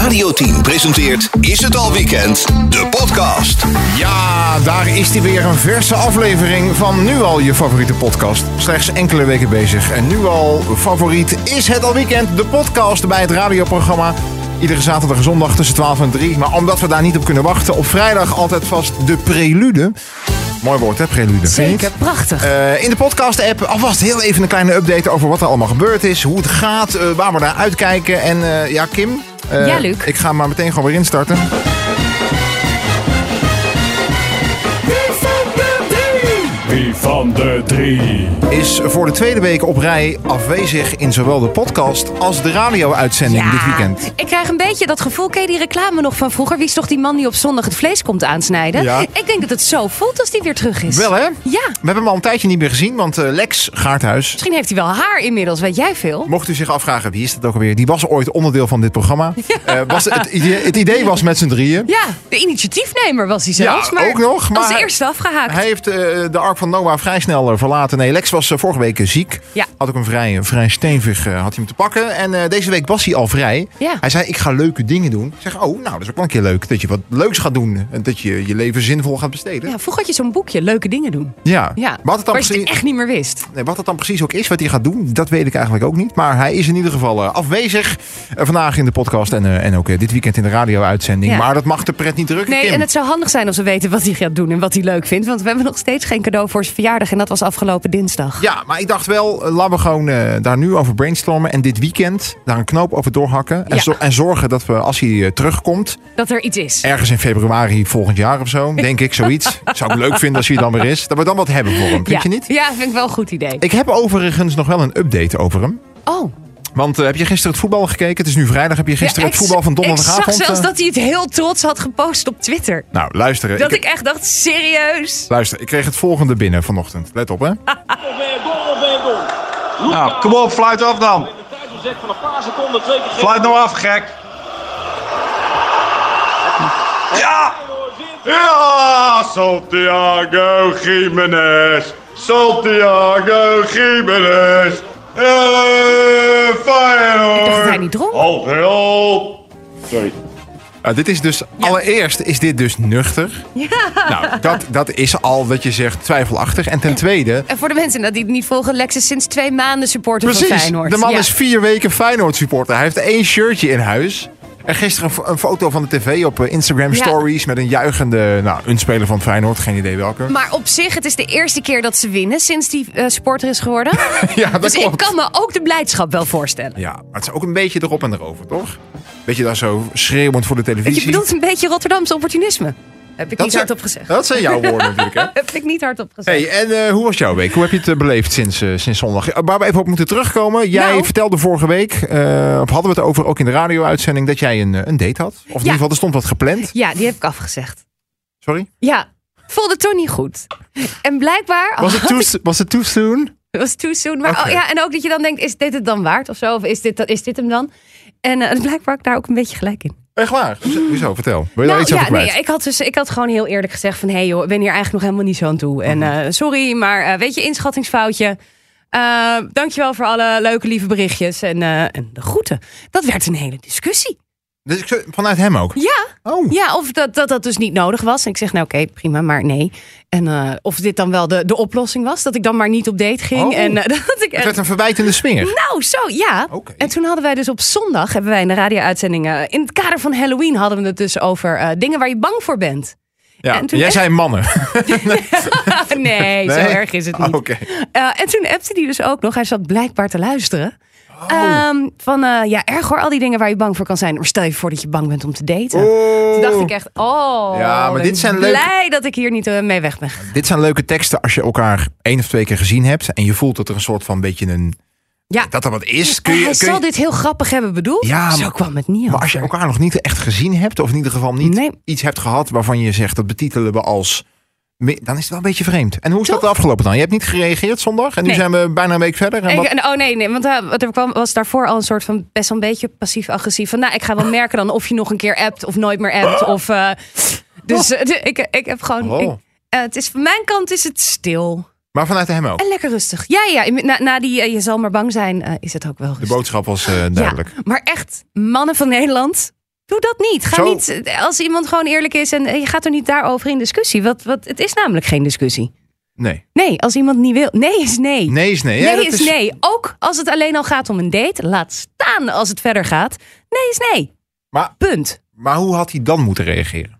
Radio 10 presenteert Is het al weekend? De podcast. Ja, daar is die weer een verse aflevering van nu al je favoriete podcast. Slechts enkele weken bezig en nu al favoriet Is het al weekend? De podcast bij het radioprogramma. Iedere zaterdag en zondag tussen 12 en 3. Maar omdat we daar niet op kunnen wachten, op vrijdag altijd vast de prelude. Mooi woord hè, prelude. Zeker, prachtig. Eh, in de podcast-app alvast heel even een kleine update over wat er allemaal gebeurd is. Hoe het gaat, eh, waar we naar uitkijken. En eh, ja, Kim. eh, Ja, Luc. Ik ga maar meteen gewoon weer instarten. Wie van de drie? Is voor de tweede week op rij afwezig in zowel de podcast als de radio-uitzending dit weekend. Ik krijg een beetje dat gevoel, ken je die reclame nog van vroeger? Wie is toch die man die op zondag het vlees komt aansnijden? Ja. Ik denk dat het zo voelt als die weer terug is. Wel hè? Ja, We hebben hem al een tijdje niet meer gezien, want eh, Lex Gaarthuis. misschien heeft hij wel haar inmiddels, weet jij veel? Mocht u zich afvragen, wie is dat ook alweer? Die was ooit onderdeel van dit programma. Eh, was het, idee- het idee was met z'n drieën. Ja, de initiatiefnemer was hij zelfs. Ja, maar ook nog, maar- als eerste afgehaakt. Hij heeft eh, de Ark van Noah vrij snel eh, verlaten. Nee, Lex was eh, vorige week eh, ziek. Ja. Had ook een vrij, een vrij stevig eh, had hij hem te pakken. En eh, deze week was hij al vrij. Ja. Hij zei, ik ga leuke dingen doen. Ik zeg, oh, nou, dat is ook wel een keer leuk. Dat je wat leuks gaat doen. En dat je je leven zinvol gaat besteden. Ja, vroeger had je zo'n boekje, leuke dingen doen. Ja. Ja, Wat, het dan waar je precies, het echt niet meer wist. nee, wat het dan precies ook is, wat hij gaat doen, dat weet ik eigenlijk ook niet. Maar hij is in ieder geval eh, afwezig. Eh, vandaag in de podcast en, eh, en ook eh, dit weekend in de radio-uitzending. Ja. Maar dat mag de pret niet drukken, Nee, Kim. en het zou handig zijn als we weten wat hij gaat doen en wat hij leuk vindt. Want we hebben nog steeds geen cadeau voor zijn verjaardag en dat was afgelopen dinsdag. Ja, maar ik dacht wel, eh, laten we gewoon eh, daar nu over brainstormen. En dit weekend daar een knoop over doorhakken. En, Ja. zo- en zorgen dat we, als hij eh, terugkomt, Dat er iets is. ergens in februari volgend jaar of zo, denk ik, zoiets. Zou ik leuk vinden als hij dan weer is. Dat we dan wat hebben voor hem, vind ja. je niet? Ja, vind ik wel een goed idee. Ik heb overigens nog wel een update over hem. Oh, Want eh, heb je gisteren het voetbal gekeken? Het is nu vrijdag. Heb je gisteren Ja, het ik- voetbal van donderdagavond? Ik zag zelfs eh, dat hij het heel trots had gepost op Twitter. Nou, luister. Dat ik, ik echt dacht, serieus? Luister, ik kreeg het volgende binnen vanochtend. Let op, hè. Nou, kom op, fluit af dan. van een paar seconden twee keer Fluit nou af, gek. Ja! Ja, Santiago Jiménez. Santiago Jiménez. Eh, Feyenoord. Ik dacht dat hij niet dronk. Halt, help. Sorry. Nou, dit is dus, allereerst is dit dus nuchter. Nou, dat, dat is al dat je zegt twijfelachtig. En ten tweede, En voor de mensen dat die het niet volgen, Lex is sinds twee maanden supporter van precies, Feyenoord. de man Ja. is vier weken Feyenoord supporter. Hij heeft één shirtje in huis. En gisteren een fo- een foto van de tv op eh, Instagram Ja. Stories met een juichende, nou, een speler van Feyenoord, geen idee welke. Maar op zich, het is de eerste keer dat ze winnen sinds die eh, supporter is geworden. ja, dat dus klopt. ik kan me ook de blijdschap wel voorstellen. Ja, maar het is ook een beetje erop en erover, toch? Beetje daar zo schreeuwend voor de televisie. Je bedoelt een beetje Rotterdamse opportunisme. Heb ik niet zijn- hardop gezegd. Dat Eh? zijn jouw woorden natuurlijk, hè? Heb ik niet hardop gezegd. Hey, en eh, hoe was jouw week? Hoe heb je het eh, beleefd sinds, eh, sinds zondag? Eh, Waar we even op moeten terugkomen. Jij Nou. vertelde vorige week, eh, of hadden we het over ook in de radio-uitzending, dat jij een, eh, een date had. Of in ieder geval, er stond wat gepland. Ja, die heb ik afgezegd. Sorry. Ja, voelde toch niet goed. En blijkbaar... Was het too, s- was het too soon? Het was too soon. Maar Oké. oh ja, en ook dat je dan denkt, is dit het dan waard of zo? Of is dit, is dit hem dan? En eh, blijkbaar had ik daar ook een beetje gelijk in. Echt waar? Hoezo- Hoezo? Vertel. Wil je daar iets Nou, ja, over kwijt? nee, ik had, dus, ik had gewoon heel eerlijk gezegd van... hé hey joh, ik ben hier eigenlijk nog helemaal niet zo aan toe. En Mhm. eh, sorry, maar eh, weet je, inschattingsfoutje. Eh, dankjewel voor alle leuke, lieve berichtjes en, eh, en de groeten. Dat werd een hele discussie. Dus ik, zo- vanuit hem ook? Ja, Oh. ja of dat, dat dat dus niet nodig was. En ik zeg, nou oké, prima, maar nee. En eh, of dit dan wel de, de oplossing was, dat ik dan maar niet op date ging. Oh. En eh, dat ik Het echt werd een verwijtende smeer. Nou, zo ja. Oké. En toen hadden wij dus op zondag, hebben wij in de radio-uitzending, eh, in het kader van Halloween, hadden we het dus over eh, dingen waar je bang voor bent. Ja. en toen Jij echt- zei mannen. nee, Nee? zo Oh. erg is het niet. Oké. Eh, en toen appte hij dus ook nog, hij zat blijkbaar te luisteren. Oh. Ehm, van eh, ja, erg hoor, al die dingen waar je bang voor kan zijn. Maar stel je voor dat je bang bent om te daten. Toen dacht ik echt, oh, Oh. Ja, maar ben dit zijn blij leuke- dat ik hier niet eh, mee weg ben. Dit zijn leuke teksten als je elkaar één of twee keer gezien hebt. En je voelt dat er een soort van beetje een... Ja. Dat er wat is. Kun En je, hij kun zal je- dit heel grappig hebben bedoeld. Ja, zo maar- kwam het niet Maar als je over. elkaar nog niet echt gezien hebt, of in ieder geval niet Nee. iets hebt gehad waarvan je zegt dat betitelen we als. me- dan is het wel een beetje vreemd. En hoe is dat Toch? afgelopen dan? Je hebt niet gereageerd zondag en nu Nee. zijn we bijna een week verder. En Ik- wat- en- oh nee, nee want eh, wat er kwam was daarvoor al een soort van best wel een beetje passief-agressief. Van nou, ik ga wel merken dan of je nog een keer appt of nooit meer appt. Of eh, Dus eh, de- ik, ik heb gewoon. Oh. ik- eh, het is, van mijn kant is het stil. Maar vanuit hem ook. En lekker rustig. Ja, ja. in- Na, na die eh, Je zal maar bang zijn, eh, is het ook wel De rustig. boodschap was eh, duidelijk. Ja, maar echt, mannen van Nederland, doe dat niet. Ga Zo. niet. eh, Als iemand gewoon eerlijk is en eh, je gaat er niet daarover in discussie. Wat, wat, het is namelijk geen discussie. Nee. Nee, als iemand niet wil. Nee is nee. Nee is nee. Ja, Nee dat is nee. Ook als het alleen al gaat om een date, laat staan als het verder gaat. Nee is nee. Maar, Punt. maar hoe had hij dan moeten reageren?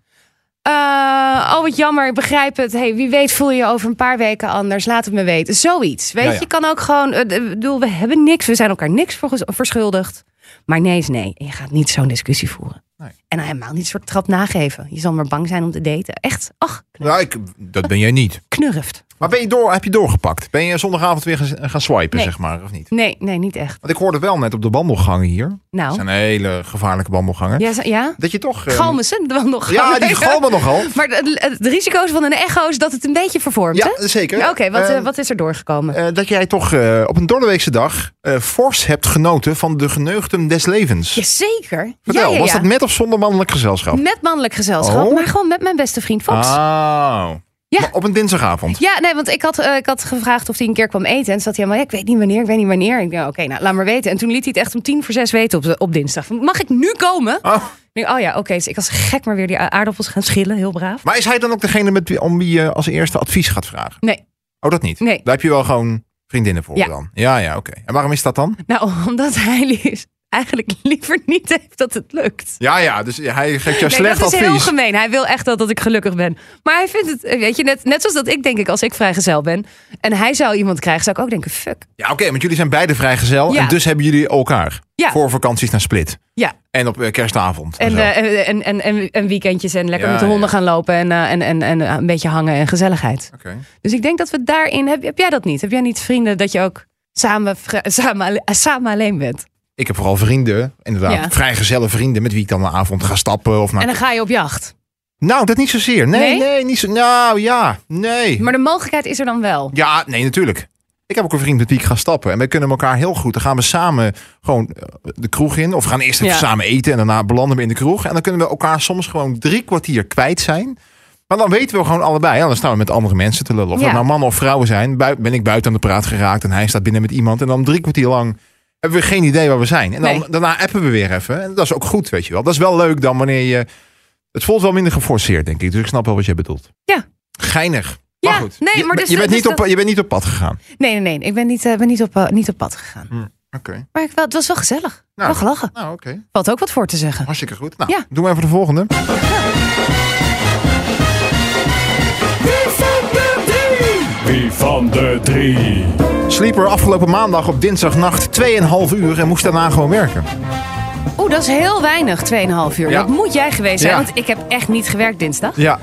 Eh, oh, wat jammer, ik begrijp het. Hey, wie weet voel je je over een paar weken anders. Laat het me weten. Zoiets. Weet Ja, je, ja. je kan ook gewoon... eh, ik bedoel, we hebben niks. We zijn elkaar niks voor- verschuldigd. Maar nee is nee. En je gaat niet zo'n discussie voeren. Nee. En dan helemaal niet soort trap nageven. Je zal maar bang zijn om te daten. Echt, ach, Nou, ik, dat ben jij niet. knurft. Maar ben je door, heb je doorgepakt? Ben je zondagavond weer gaan, gaan swipen, Nee. zeg maar, of niet? Nee, nee, niet echt. Want ik hoorde wel net op de wandelgangen hier. Dat Nou, zijn hele gevaarlijke wandelgangen. ja? zo- ja? Dat je toch... eh, Galmen ze dan nog? Ja, die galmen nogal. Maar het, het risico van een echo is dat het een beetje vervormt, Ja, hè? zeker. Oké, wat, Eh, eh, wat is er doorgekomen? eh, dat jij toch eh, op een doordeweekse dag eh, fors hebt genoten van de geneugten des levens. Jazeker. Vertel, ja, ja, was ja. dat met of zonder mannelijk gezelschap? Met mannelijk gezelschap, Oh. maar gewoon met mijn beste vriend Fox. Oh. Ja. Maar Op een dinsdagavond. Ja, nee, want ik had, eh, ik had gevraagd of hij een keer kwam eten. En zat hij helemaal, ja, ik weet niet wanneer, ik weet niet wanneer. Ik dacht, oké, nou, laat maar weten. En toen liet hij het echt om tien voor zes weten op, de- op dinsdag. Van, Mag ik nu komen? Oh. Ik denk, oh ja, oké. Dus ik was gek maar weer die a- aardappels gaan schillen, heel braaf. Maar is hij dan ook degene met wie, om wie je als eerste advies gaat vragen? Nee, Oh, dat niet? Nee. Daar heb je wel gewoon vriendinnen voor Ja. dan? Ja, ja, oké. En waarom is dat dan? nou, omdat hij li- eigenlijk liever niet heeft dat het lukt. Ja, ja, dus hij geeft jou Nee, slecht dat is heel advies. gemeen. Hij wil echt wel dat ik gelukkig ben. Maar hij vindt het, eh, weet je, net, net zoals dat ik denk ik als ik vrijgezel ben. En hij zou iemand krijgen, zou ik ook denken, fuck. ja, oké, want jullie zijn beide vrijgezel Ja. en dus hebben jullie elkaar. Ja. Voor vakanties naar Split. Ja, En op eh, kerstavond. En, En, zo. eh, en, en, en, en weekendjes en lekker Ja, met de honden ja. gaan lopen en, eh, en, en, en eh, een beetje hangen en gezelligheid. Oké. Dus ik denk dat we daarin. Heb, heb jij dat niet? Heb jij niet vrienden dat je ook samen, vri- samen, alle- eh, samen alleen bent? Ik heb vooral vrienden, inderdaad. Ja. Vrijgezelle vrienden met wie ik dan een avond ga stappen. Of naar... En dan ga je op jacht. Nou, dat niet zozeer. Nee, nee, Nee? niet zo... Nou, ja, nee. Maar de mogelijkheid is er dan wel. Ja, nee, natuurlijk. Ik heb ook een vriend met wie ik ga stappen. En wij kunnen elkaar heel goed. Dan gaan we samen gewoon eh, de kroeg in. Of we gaan eerst even Ja. samen eten. En daarna belanden we in de kroeg. En dan kunnen we elkaar soms gewoon drie kwartier kwijt zijn. Maar dan weten we gewoon allebei. Ja, dan staan we met andere mensen te lullen. Of Ja. het nou mannen of vrouwen zijn. bui- ben ik buiten aan de praat geraakt. En hij staat binnen met iemand. En dan drie kwartier lang hebben we geen idee waar we zijn. En dan, Nee. daarna appen we weer even. En dat is ook goed, weet je wel. Dat is wel leuk dan wanneer je... Het voelt wel minder geforceerd, denk ik. Dus ik snap wel wat jij bedoelt. Ja. Geinig. Ja, maar goed. nee, je, maar dus- je, bent dus niet op, dat- je bent niet op pad gegaan. Nee, nee, nee. Ik ben niet, eh, ben niet, op, eh, niet op pad gegaan. Oké. Maar ik, wel, het was wel gezellig. Hm. Nou. Wel gelachen. Nou, oké. Valt ook wat voor te zeggen. Hartstikke goed. Nou, Ja. doen we even de volgende. Wie van de drie? Sleeper afgelopen maandag op dinsdagnacht 2,5 uur en moest daarna gewoon werken. Oeh, dat is heel weinig, 2,5 uur. Ja. Dat moet jij geweest zijn, Ja. want ik heb echt niet gewerkt dinsdag. Ja.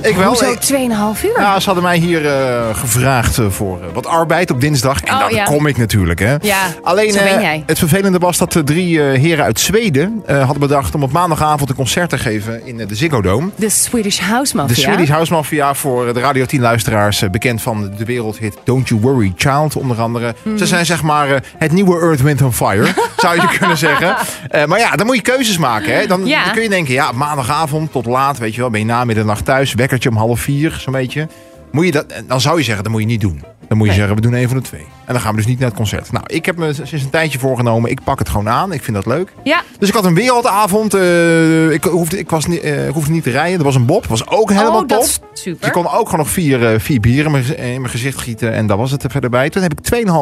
Ik wel. Hoezo Ik- Nou, 2,5 uur? ja, ze hadden mij hier eh, gevraagd eh, voor eh, wat arbeid op dinsdag. En Oh, daar ja. kom ik natuurlijk, hè. Ja, Alleen zo ben eh, jij. het vervelende was dat de drie eh, heren uit Zweden eh, hadden bedacht om op maandagavond een concert te geven in eh, de Ziggo Dome. De Swedish House De Mafia. Swedish House Mafia voor de Radio 10 luisteraars. eh, Bekend van de wereldhit Don't You Worry Child onder andere. Hmm. Ze zijn zeg maar eh, het nieuwe Earth, Wind and Fire. zou je kunnen zeggen. Eh, maar ja, dan moet je keuzes maken. Hè. Dan, Ja. dan kun je denken, ja, maandagavond tot laat. Weet je wel, ben je na middernacht thuis. Wekkertje om half vier, zo'n beetje. Moet je dat, eh, dan zou je zeggen, dat moet je niet doen. Dan moet je Nee. zeggen, we doen een van de twee. En dan gaan we dus niet naar het concert. Nou, ik heb me sinds een tijdje voorgenomen. Ik pak het gewoon aan. Ik vind dat leuk. Ja, Dus ik had een wereldavond. eh, ik, hoefde, ik, was, ni- eh, ik hoefde niet te rijden. Er was een bob. was ook helemaal oh, top. dat is Dus super. ik kon ook gewoon nog vier, eh, vier bieren in mijn, gez- in mijn gezicht gieten. En dat was het er verder bij. Toen heb ik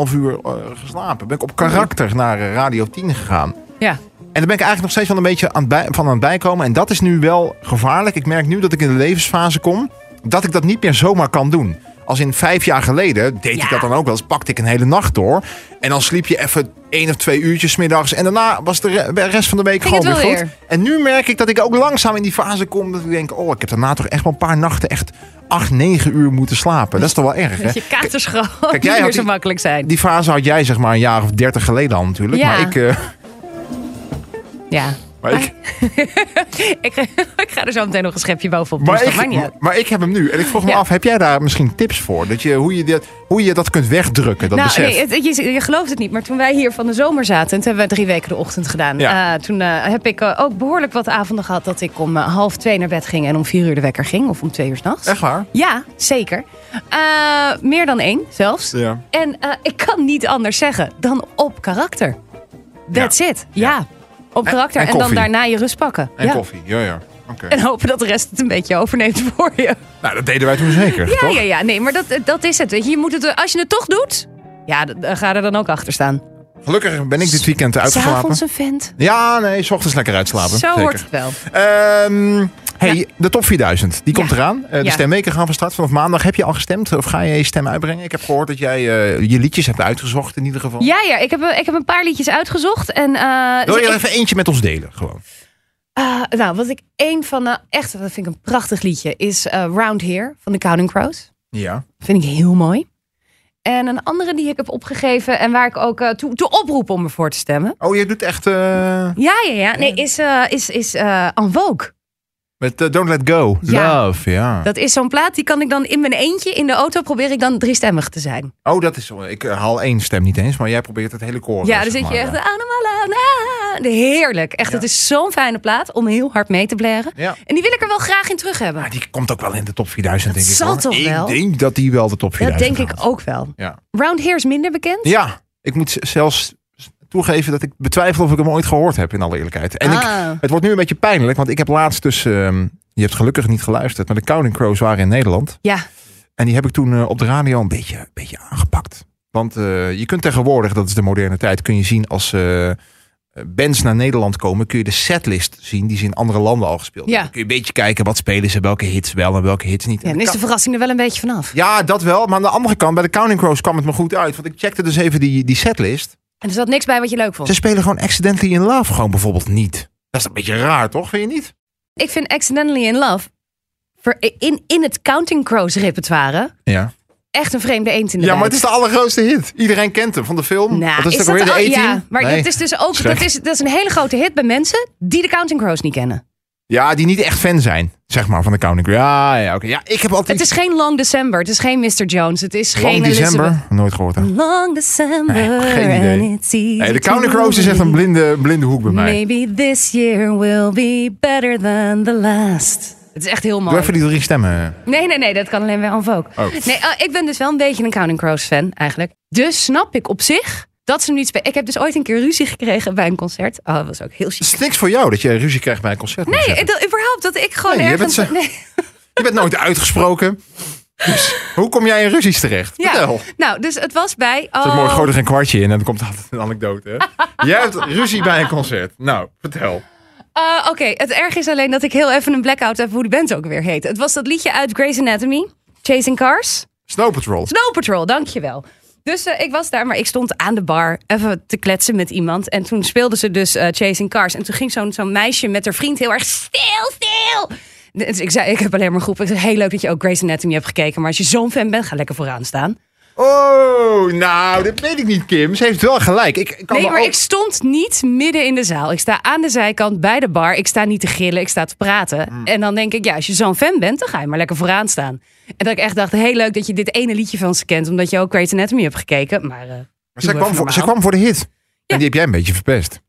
2,5 uur eh, geslapen. Ben ik op karakter naar eh, Radio 10 gegaan. Ja. En daar ben ik eigenlijk nog steeds van een beetje aan het bij, van aan het bijkomen. En dat is nu wel gevaarlijk. Ik merk nu dat ik in de levensfase kom. Dat ik dat niet meer zomaar kan doen. Als in vijf jaar geleden deed Ja. ik dat dan ook wel eens. Pakte ik een hele nacht door. En dan sliep je even één of twee uurtjes 's middags. En daarna was de re- de rest van de week Ging gewoon het weer wel goed. En nu merk ik dat ik ook langzaam in die fase kom. Dat ik denk, oh, ik heb daarna toch echt wel een paar nachten echt acht, negen uur moeten slapen. Dat is toch wel erg, hè? Dat je katers gewoon Kijk, jij niet had meer zo die- makkelijk zijn. Die fase had jij zeg maar een jaar of dertig geleden al natuurlijk. Ja. Maar ik... eh, Ja, Maar ik, ik, ik ga er zo meteen nog een schepje bovenop. maar, dus dat ik, maakt niet uit. maar ik heb hem nu. En ik vroeg me Ja. af, heb jij daar misschien tips voor? Dat je, hoe, je dit, hoe je dat kunt wegdrukken, dat nou, besef. nee, het- je, je gelooft het niet, maar toen wij hier van de zomer zaten, en toen hebben we drie weken de ochtend gedaan. Ja. eh, toen eh, heb ik eh, ook behoorlijk wat avonden gehad dat ik om eh, half twee naar bed ging en om vier uur de wekker ging, of om twee uur s'nachts. Echt waar? Ja, zeker. Eh, meer dan één zelfs. Ja. En eh, ik kan niet anders zeggen dan op karakter. That's it. Ja. Op karakter. en En, dan koffie. daarna je rust pakken. En ja. koffie, ja, ja. Oké. En hopen dat de rest het een beetje overneemt voor je. Nou, dat deden wij toen zeker, Ja, toch? ja, ja. Nee, maar dat, dat is het. Weet je, je moet het, als je het toch doet, ja, d- eh, ga er dan ook achter staan. Gelukkig ben ik dit weekend uitgeslapen. S'avonds een vent. Ja, nee, s ochtends lekker uitslapen. Zo zeker. hoort het wel. Ehm, hey, Ja. de top 4000, die komt Ja. eraan. Eh, de Ja. stemmeken gaan van start vanaf maandag. Heb je al gestemd of ga je je stem uitbrengen? Ik heb gehoord dat jij eh, je liedjes hebt uitgezocht in ieder geval. Ja, ja. Ik heb, eh, ik heb een paar liedjes uitgezocht. En, eh, Wil je ik- er even eentje met ons delen? Gewoon. eh, nou, wat ik één van, eh, echt, dat vind ik een prachtig liedje, is eh, Round Here van de Counting Crows. Ja. Vind ik heel mooi. En een andere die ik heb opgegeven en waar ik ook eh, toe, toe oproep om ervoor te stemmen. Oh, je doet echt eh, Ja, ja, ja. Nee, is, eh is, is eh En Vogue. met eh, Don't Let Go. Ja. Love, ja. Dat is zo'n plaat, die kan ik dan in mijn eentje in de auto probeer ik dan driestemmig te zijn. Oh, dat is zo. Ik eh, haal één stem niet eens, maar jij probeert het hele koor. ja, eh, dan zeg zit je maar, echt. "Ah, ja. "Anamala, na." De Heerlijk. Echt, het is zo'n fijne plaat om heel hard mee te blaren. Ja. En die wil ik er wel graag in terug hebben. Maar die komt ook wel in de top 4000, denk ik. zal hoor. toch ik wel? Ik denk dat die wel de top Dat 4000 denk ik haalt. ook wel. Ja. Round Here is minder bekend. Ja, ik moet z- zelfs toegeven dat ik betwijfel of ik hem ooit gehoord heb, in alle eerlijkheid. En Ah. ik, het wordt nu een beetje pijnlijk, want ik heb laatst dus... ehm, je hebt gelukkig niet geluisterd, maar de Counting Crows waren in Nederland. Ja. En die heb ik toen eh, op de radio een beetje, een beetje aangepakt. Want eh, je kunt tegenwoordig, dat is de moderne tijd, kun je zien als... eh, bands naar Nederland komen, kun je de setlist zien die ze in andere landen al gespeeld Ja. hebben. Kun je een beetje kijken wat spelen ze, welke hits wel en welke hits niet. Ja, En dan de is de verrassing er wel een beetje vanaf. ja, dat wel. Maar aan de andere kant, bij de Counting Crows kwam het me goed uit. Want ik checkte dus even die, die setlist. En er zat niks bij wat je leuk vond. Ze spelen gewoon Accidentally in Love gewoon bijvoorbeeld niet. Dat is een beetje raar, toch? Vind je niet? Ik vind Accidentally in Love ver- in, in het Counting Crows repertoire Ja. echt een vreemde eend in de Ja, maar het bijt. is de allergrootste hit. Iedereen kent hem van de film. Nou, Wat is, is het ook dat alweer? al- De 18? Ja, maar Nee. het is dus ook, Schrik. dat is, dat is een hele grote hit bij mensen die de Counting Crows niet kennen. ja, die niet echt fan zijn, zeg maar, van de Counting Crows. Ja, ja, oké. Ja, ik heb altijd... Het is geen Long December, het is geen Mr. Jones, het is Long geen December. Elizabeth. Nooit gehoord, hè? Long December Nee, geen idee. and it's easy Nee, de to Counting Crows is echt een read. blinde, blinde hoek bij mij. Maybe this year will be better than the last. Het is echt heel mooi. Doe even die drie stemmen. Nee, nee, nee, dat kan alleen bij Anne Vogue. Oh. Nee, eh, ik ben dus wel een beetje een Counting Crows fan eigenlijk. Dus snap ik op zich dat ze hem niet spelen. Ik heb dus ooit een keer ruzie gekregen bij een concert. Oh, dat was ook heel Het chic. is niks voor jou dat je ruzie krijgt bij een concert. moet ik Nee, zeggen. dat, überhaupt dat ik gewoon Nee, je ergens... bent zo- Nee. Je bent nooit uitgesproken. Dus hoe kom jij in ruzies terecht? Vertel. Nou, dus het was bij... Zo Oh, mooi, gooi er een kwartje in en dan komt altijd een anekdote. Hè? Jij hebt ruzie bij een concert. Nou, vertel. eh, Oké, het erg is alleen dat ik heel even een blackout heb hoe die band ook weer heet. Het was dat liedje uit Grey's Anatomy, Chasing Cars. Snow Patrol. Snow Patrol, dankjewel. Dus eh, ik was daar, maar ik stond aan de bar even te kletsen met iemand. En toen speelden ze dus eh, Chasing Cars. En toen ging zo'n zo'n meisje met haar vriend heel erg stil, stil. Dus ik zei, ik heb alleen maar groepen. Ik zei, heel leuk dat je ook Grey's Anatomy hebt gekeken. Maar als je zo'n fan bent, ga lekker vooraan staan. Oh, nou, dat weet ik niet, Kim. Ze heeft wel gelijk. Ik, ik kan nee, me maar ook- ik stond niet midden in de zaal. Ik sta aan de zijkant bij de bar. Ik sta niet te gillen, ik sta te praten. Hmm. En dan denk ik, ja, als je zo'n fan bent, dan ga je maar lekker vooraan staan. En dat ik echt dacht, heel leuk dat je dit ene liedje van ze kent. Omdat je ook Grey's Anatomy hebt gekeken. Maar, eh, Maar doe ze, even kwam voor, ze normaal. kwam voor de hit. En die heb jij een beetje verpest.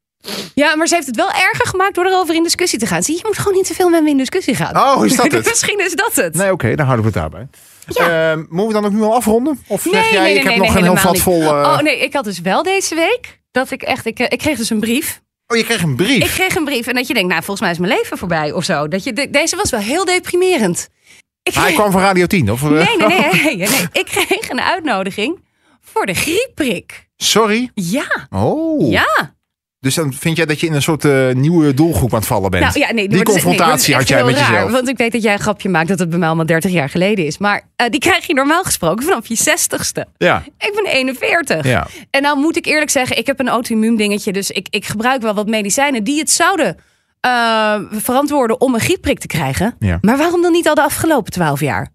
Ja, maar ze heeft het wel erger gemaakt door erover in discussie te gaan. Zie, je je moet gewoon niet te veel met me in discussie gaan. Oh, is dat het? Misschien is dat het. Nee, oké, dan houden we het daarbij. Ehm, moeten we dan ook nu al afronden? Of zeg jij, ik heb nog een heel helemaal vat niet. vol... eh, Oh nee, ik had dus wel deze week dat ik echt... Ik, eh, ik kreeg dus een brief. oh, je kreeg een Ik brief. kreeg een brief en dat je denkt, nou, volgens mij is mijn leven voorbij of zo. Dat je, de- deze was wel heel deprimerend. Ik Maar Ah, hij kreeg- kwam van Radio 10, of? eh, Nee, nee, nee, nee, nee. Ik kreeg een uitnodiging voor de griepprik. Sorry. Ja, Oh. ja. Dus dan vind jij dat je in een soort eh, nieuwe doelgroep aan het vallen bent? Nou, ja, nee, die maar dat is- nee, dat is confrontatie echt had jij heel met raar, jezelf. Want ik weet dat jij een grapje maakt dat het bij mij allemaal 30 jaar geleden is. Maar eh, die krijg je normaal gesproken vanaf je 60ste. Ja. Ik ben 41. Ja. En nou moet ik eerlijk zeggen, ik heb een auto-immuun dingetje. Dus ik, ik gebruik wel wat medicijnen die het zouden eh, verantwoorden om een griepprik te krijgen. Ja. Maar waarom dan niet al de afgelopen 12 jaar?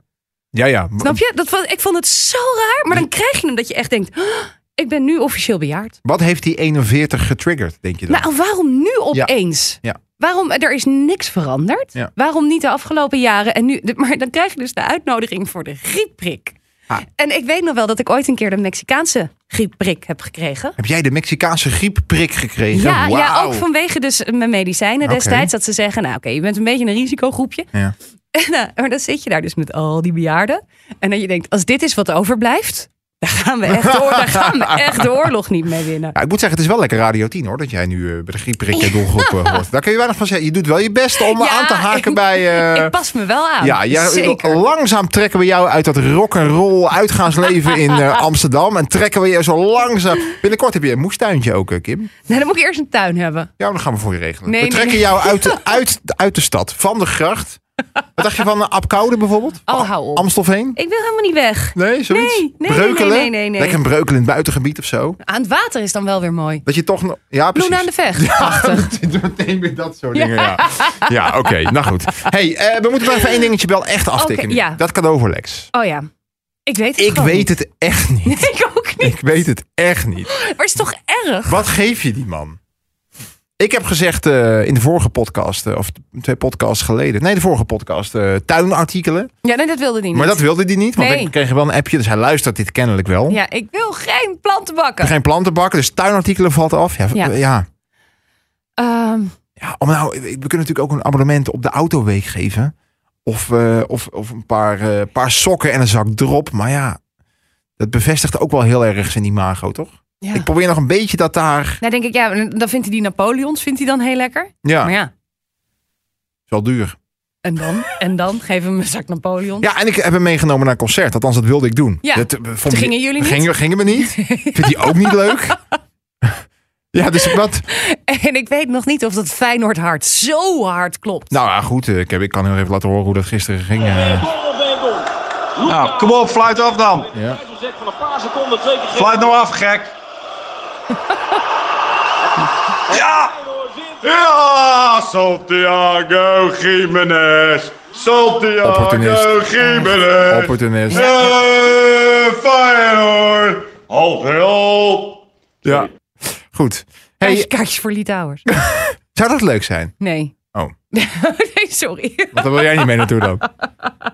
Ja, ja. Snap je? Dat was, ik vond het zo raar. Maar dan krijg je hem dat je echt denkt, "Oh, ik ben nu officieel bejaard. Wat heeft die 41 getriggerd, denk je dan? Nou, waarom nu opeens? Ja. Waarom, er is niks veranderd. Ja. Waarom niet de afgelopen jaren? En nu, maar dan krijg je dus de uitnodiging voor de griepprik. Ah. En ik weet nog wel dat ik ooit een keer de Mexicaanse griepprik heb gekregen. Heb jij de Mexicaanse griepprik gekregen? Ja, ja, Wauw. ook vanwege dus mijn medicijnen Oké. destijds. Dat ze zeggen, nou oké, je bent een beetje een risicogroepje. Ja. En, eh, maar dan zit je daar dus met al die bejaarden. En dan je denkt, als dit is wat overblijft... Daar gaan, we echt door, daar gaan we echt de oorlog niet mee winnen. Ja, ik moet zeggen, het is wel lekker Radio 10 hoor, dat jij nu eh, bij de griepprik je doelgroep eh, hoort. Daar kun je weinig van zeggen. Je doet wel je best om Ja, aan te haken ik- bij... eh, ik pas me wel aan. ja, ja, oh. zeker. langzaam trekken we jou uit dat rock and roll uitgaansleven in eh, Amsterdam. En trekken we je zo langzaam... Binnenkort heb je een moestuintje ook, eh, Kim. Nee, Nou, dan moet ik eerst een tuin hebben. Ja, dan gaan we voor je regelen. Nee, we nee, trekken nee. jou uit de, uit, uit de stad, van de gracht. Wat dacht je van uh, Apkoude bijvoorbeeld? Oh, hou op. Amstelveen? Ik wil helemaal niet weg. Nee, zoiets? Nee, nee, breukelen? nee, nee, nee, nee. Lekker een breukelen in het buitengebied of zo. Aan het water is dan wel weer mooi. Dat je toch... nog- Ja, precies. Loen aan de vecht. Prachtig. Meteen weer dat soort dingen, ja. Ja, oké. Nou goed. hey, eh, we moeten wel even één dingetje wel echt aftikken. Oké, nu. ja. Dat cadeau voor Lex. Oh ja, ik weet het Ik gewoon weet niet. het echt niet. Ik ook niet. Ik weet het echt niet. Maar het is toch erg? Wat geef je die man? Ik heb gezegd eh, in de vorige podcast, eh, of twee podcasts geleden. Nee, de vorige podcast. eh, tuinartikelen. Ja, nee, dat wilde hij niet. Maar dat wilde hij niet, want Nee. ik kreeg wel een appje. Dus hij luistert dit kennelijk wel. Ja, ik wil geen planten bakken. Geen plantenbakken, dus tuinartikelen valt af. Ja, Ja. ja. ja. Ehm, Ja, om nou, we kunnen natuurlijk ook een abonnement op de autoweek geven. Of, eh, of, of een paar, eh, paar sokken en een zak drop. Maar ja, dat bevestigt ook wel heel erg zijn imago, toch? ja. Ik probeer nog een beetje dat daar... Nou, denk ik, ja, dan vindt hij die Napoleons vindt hij dan heel lekker. Ja, Maar is ja, wel duur. en dan? En dan? Geef hem een zak Napoleon. Ja, en ik heb hem meegenomen naar een concert. Althans, dat wilde ik doen. Ja, dat, eh, vond toen ik- gingen jullie niet. Gingen, gingen we niet. Vindt hij ook niet leuk? ja, dus wat... En ik weet nog niet of dat Feyenoord hart zo hard klopt. Nou ja, goed. eh, Ik, heb, ik kan heel even laten horen hoe dat gisteren ging. eh. Nou, kom op, fluit af dan. ja. van een paar seconden twee keer Fluit nou af, gek. ja! Ja, Santiago Jiménez. Santiago Opportunist. Jiménez. Opportunist. Eh, Feyenoord. Halt, hulp. ja. Goed. Kaartjes- Hey, Kaartjes voor Litouwers. zou dat leuk zijn? Nee. Oh. nee, sorry. Want daar wil jij niet mee naartoe dan.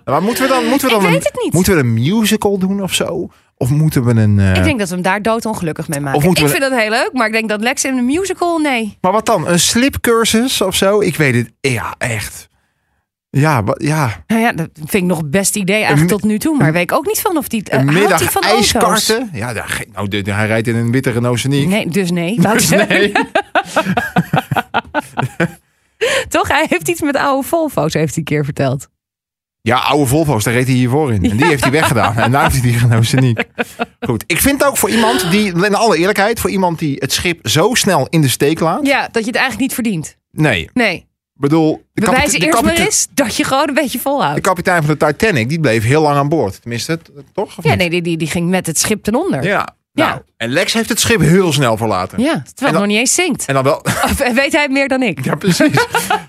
Maar moeten we dan, moeten we Ik dan een, weet het niet. Moeten we een musical doen of zo? Of moeten we een. eh, Ik denk dat we hem daar doodongelukkig mee maken. Of moeten Ik we- vind dat heel leuk, maar ik denk dat Lex in een musical, nee. Maar wat dan? Een slipcursus of zo? Ik weet het. Ja, echt. Ja, wa- ja. Nou ja, dat vind ik nog het beste idee eigenlijk Een- tot nu toe. Maar weet ik ook niet van of die... eh, Een houdt hij middag van auto's? ijskarten. Ja, daar, ge- nou, dit- hij rijdt in een witte Renault Scenic. Nee, dus nee. Wou ik zeggen. Nee. Toch? Hij heeft iets met oude Volvo's, heeft hij een keer verteld. Ja, oude Volvo's, daar reed hij hiervoor in. En die heeft hij weggedaan. En daar heeft hij die Renault Scenic. Goed. Ik vind ook voor iemand die, in alle eerlijkheid, voor iemand die het schip zo snel in de steek laat. Ja, dat je het eigenlijk niet verdient. Nee. Nee. Ik bedoel, de kapite- Bewijs de eerst maar kapite- eens dat je gewoon een beetje De volhoudt. kapitein van de Titanic, die bleef heel lang aan boord. Tenminste, t- toch? Of Ja, niet? nee, die, die, die ging met het schip ten onder. Ja. Ja. Nou, en Lex heeft het schip heel snel verlaten. Ja, terwijl het dan- nog niet eens zingt. En dan wel... Of, eh, weet hij het meer dan ik? Ja, precies.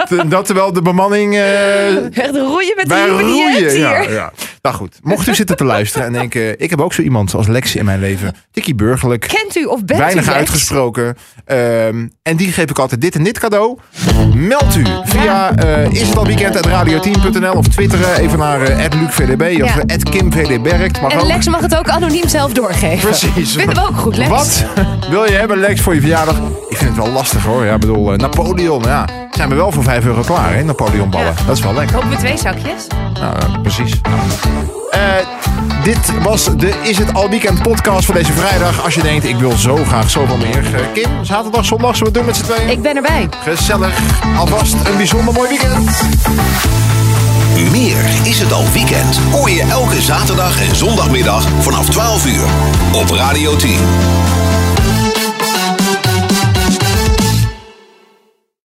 Te- Dat terwijl de bemanning... eh, Echt roeien met wij de roeien. roeien. Ja, ja. Nou goed, mocht u zitten te luisteren en denken... Ik heb ook zo iemand als Lex in mijn leven. Tikkie burgerlijk. Kent u of bent weinig u Lex? uitgesproken. Ehm, en die geef ik altijd dit en dit cadeau. Meld u via eh is het al weekend radio 10.nl of twitteren even naar eh @lucvdb of Ja. eh, @kimvdbergt. Mag En ook. Lex mag het ook anoniem zelf doorgeven. Precies. Vinden we ook goed, Lex. Wat wil je hebben, Lex, voor je verjaardag? Ik vind het wel lastig hoor. Ja, ik bedoel, eh, Napoleon, ja. Zijn we wel voor 5 euro klaar, hè? Napoleonballen. Ja. Dat is wel lekker. Kopen we twee zakjes? Nou, eh, precies. Eh, dit was de Is het Al Weekend podcast voor deze vrijdag. Als je denkt, ik wil zo graag zoveel meer. Eh, Kim, zaterdag, zondag, zullen we het doen met z'n tweeën? Ik ben erbij. Gezellig. Alvast een bijzonder mooi weekend. Meer is het al weekend. Hoor je elke zaterdag en zondagmiddag vanaf 12 uur op Radio 10.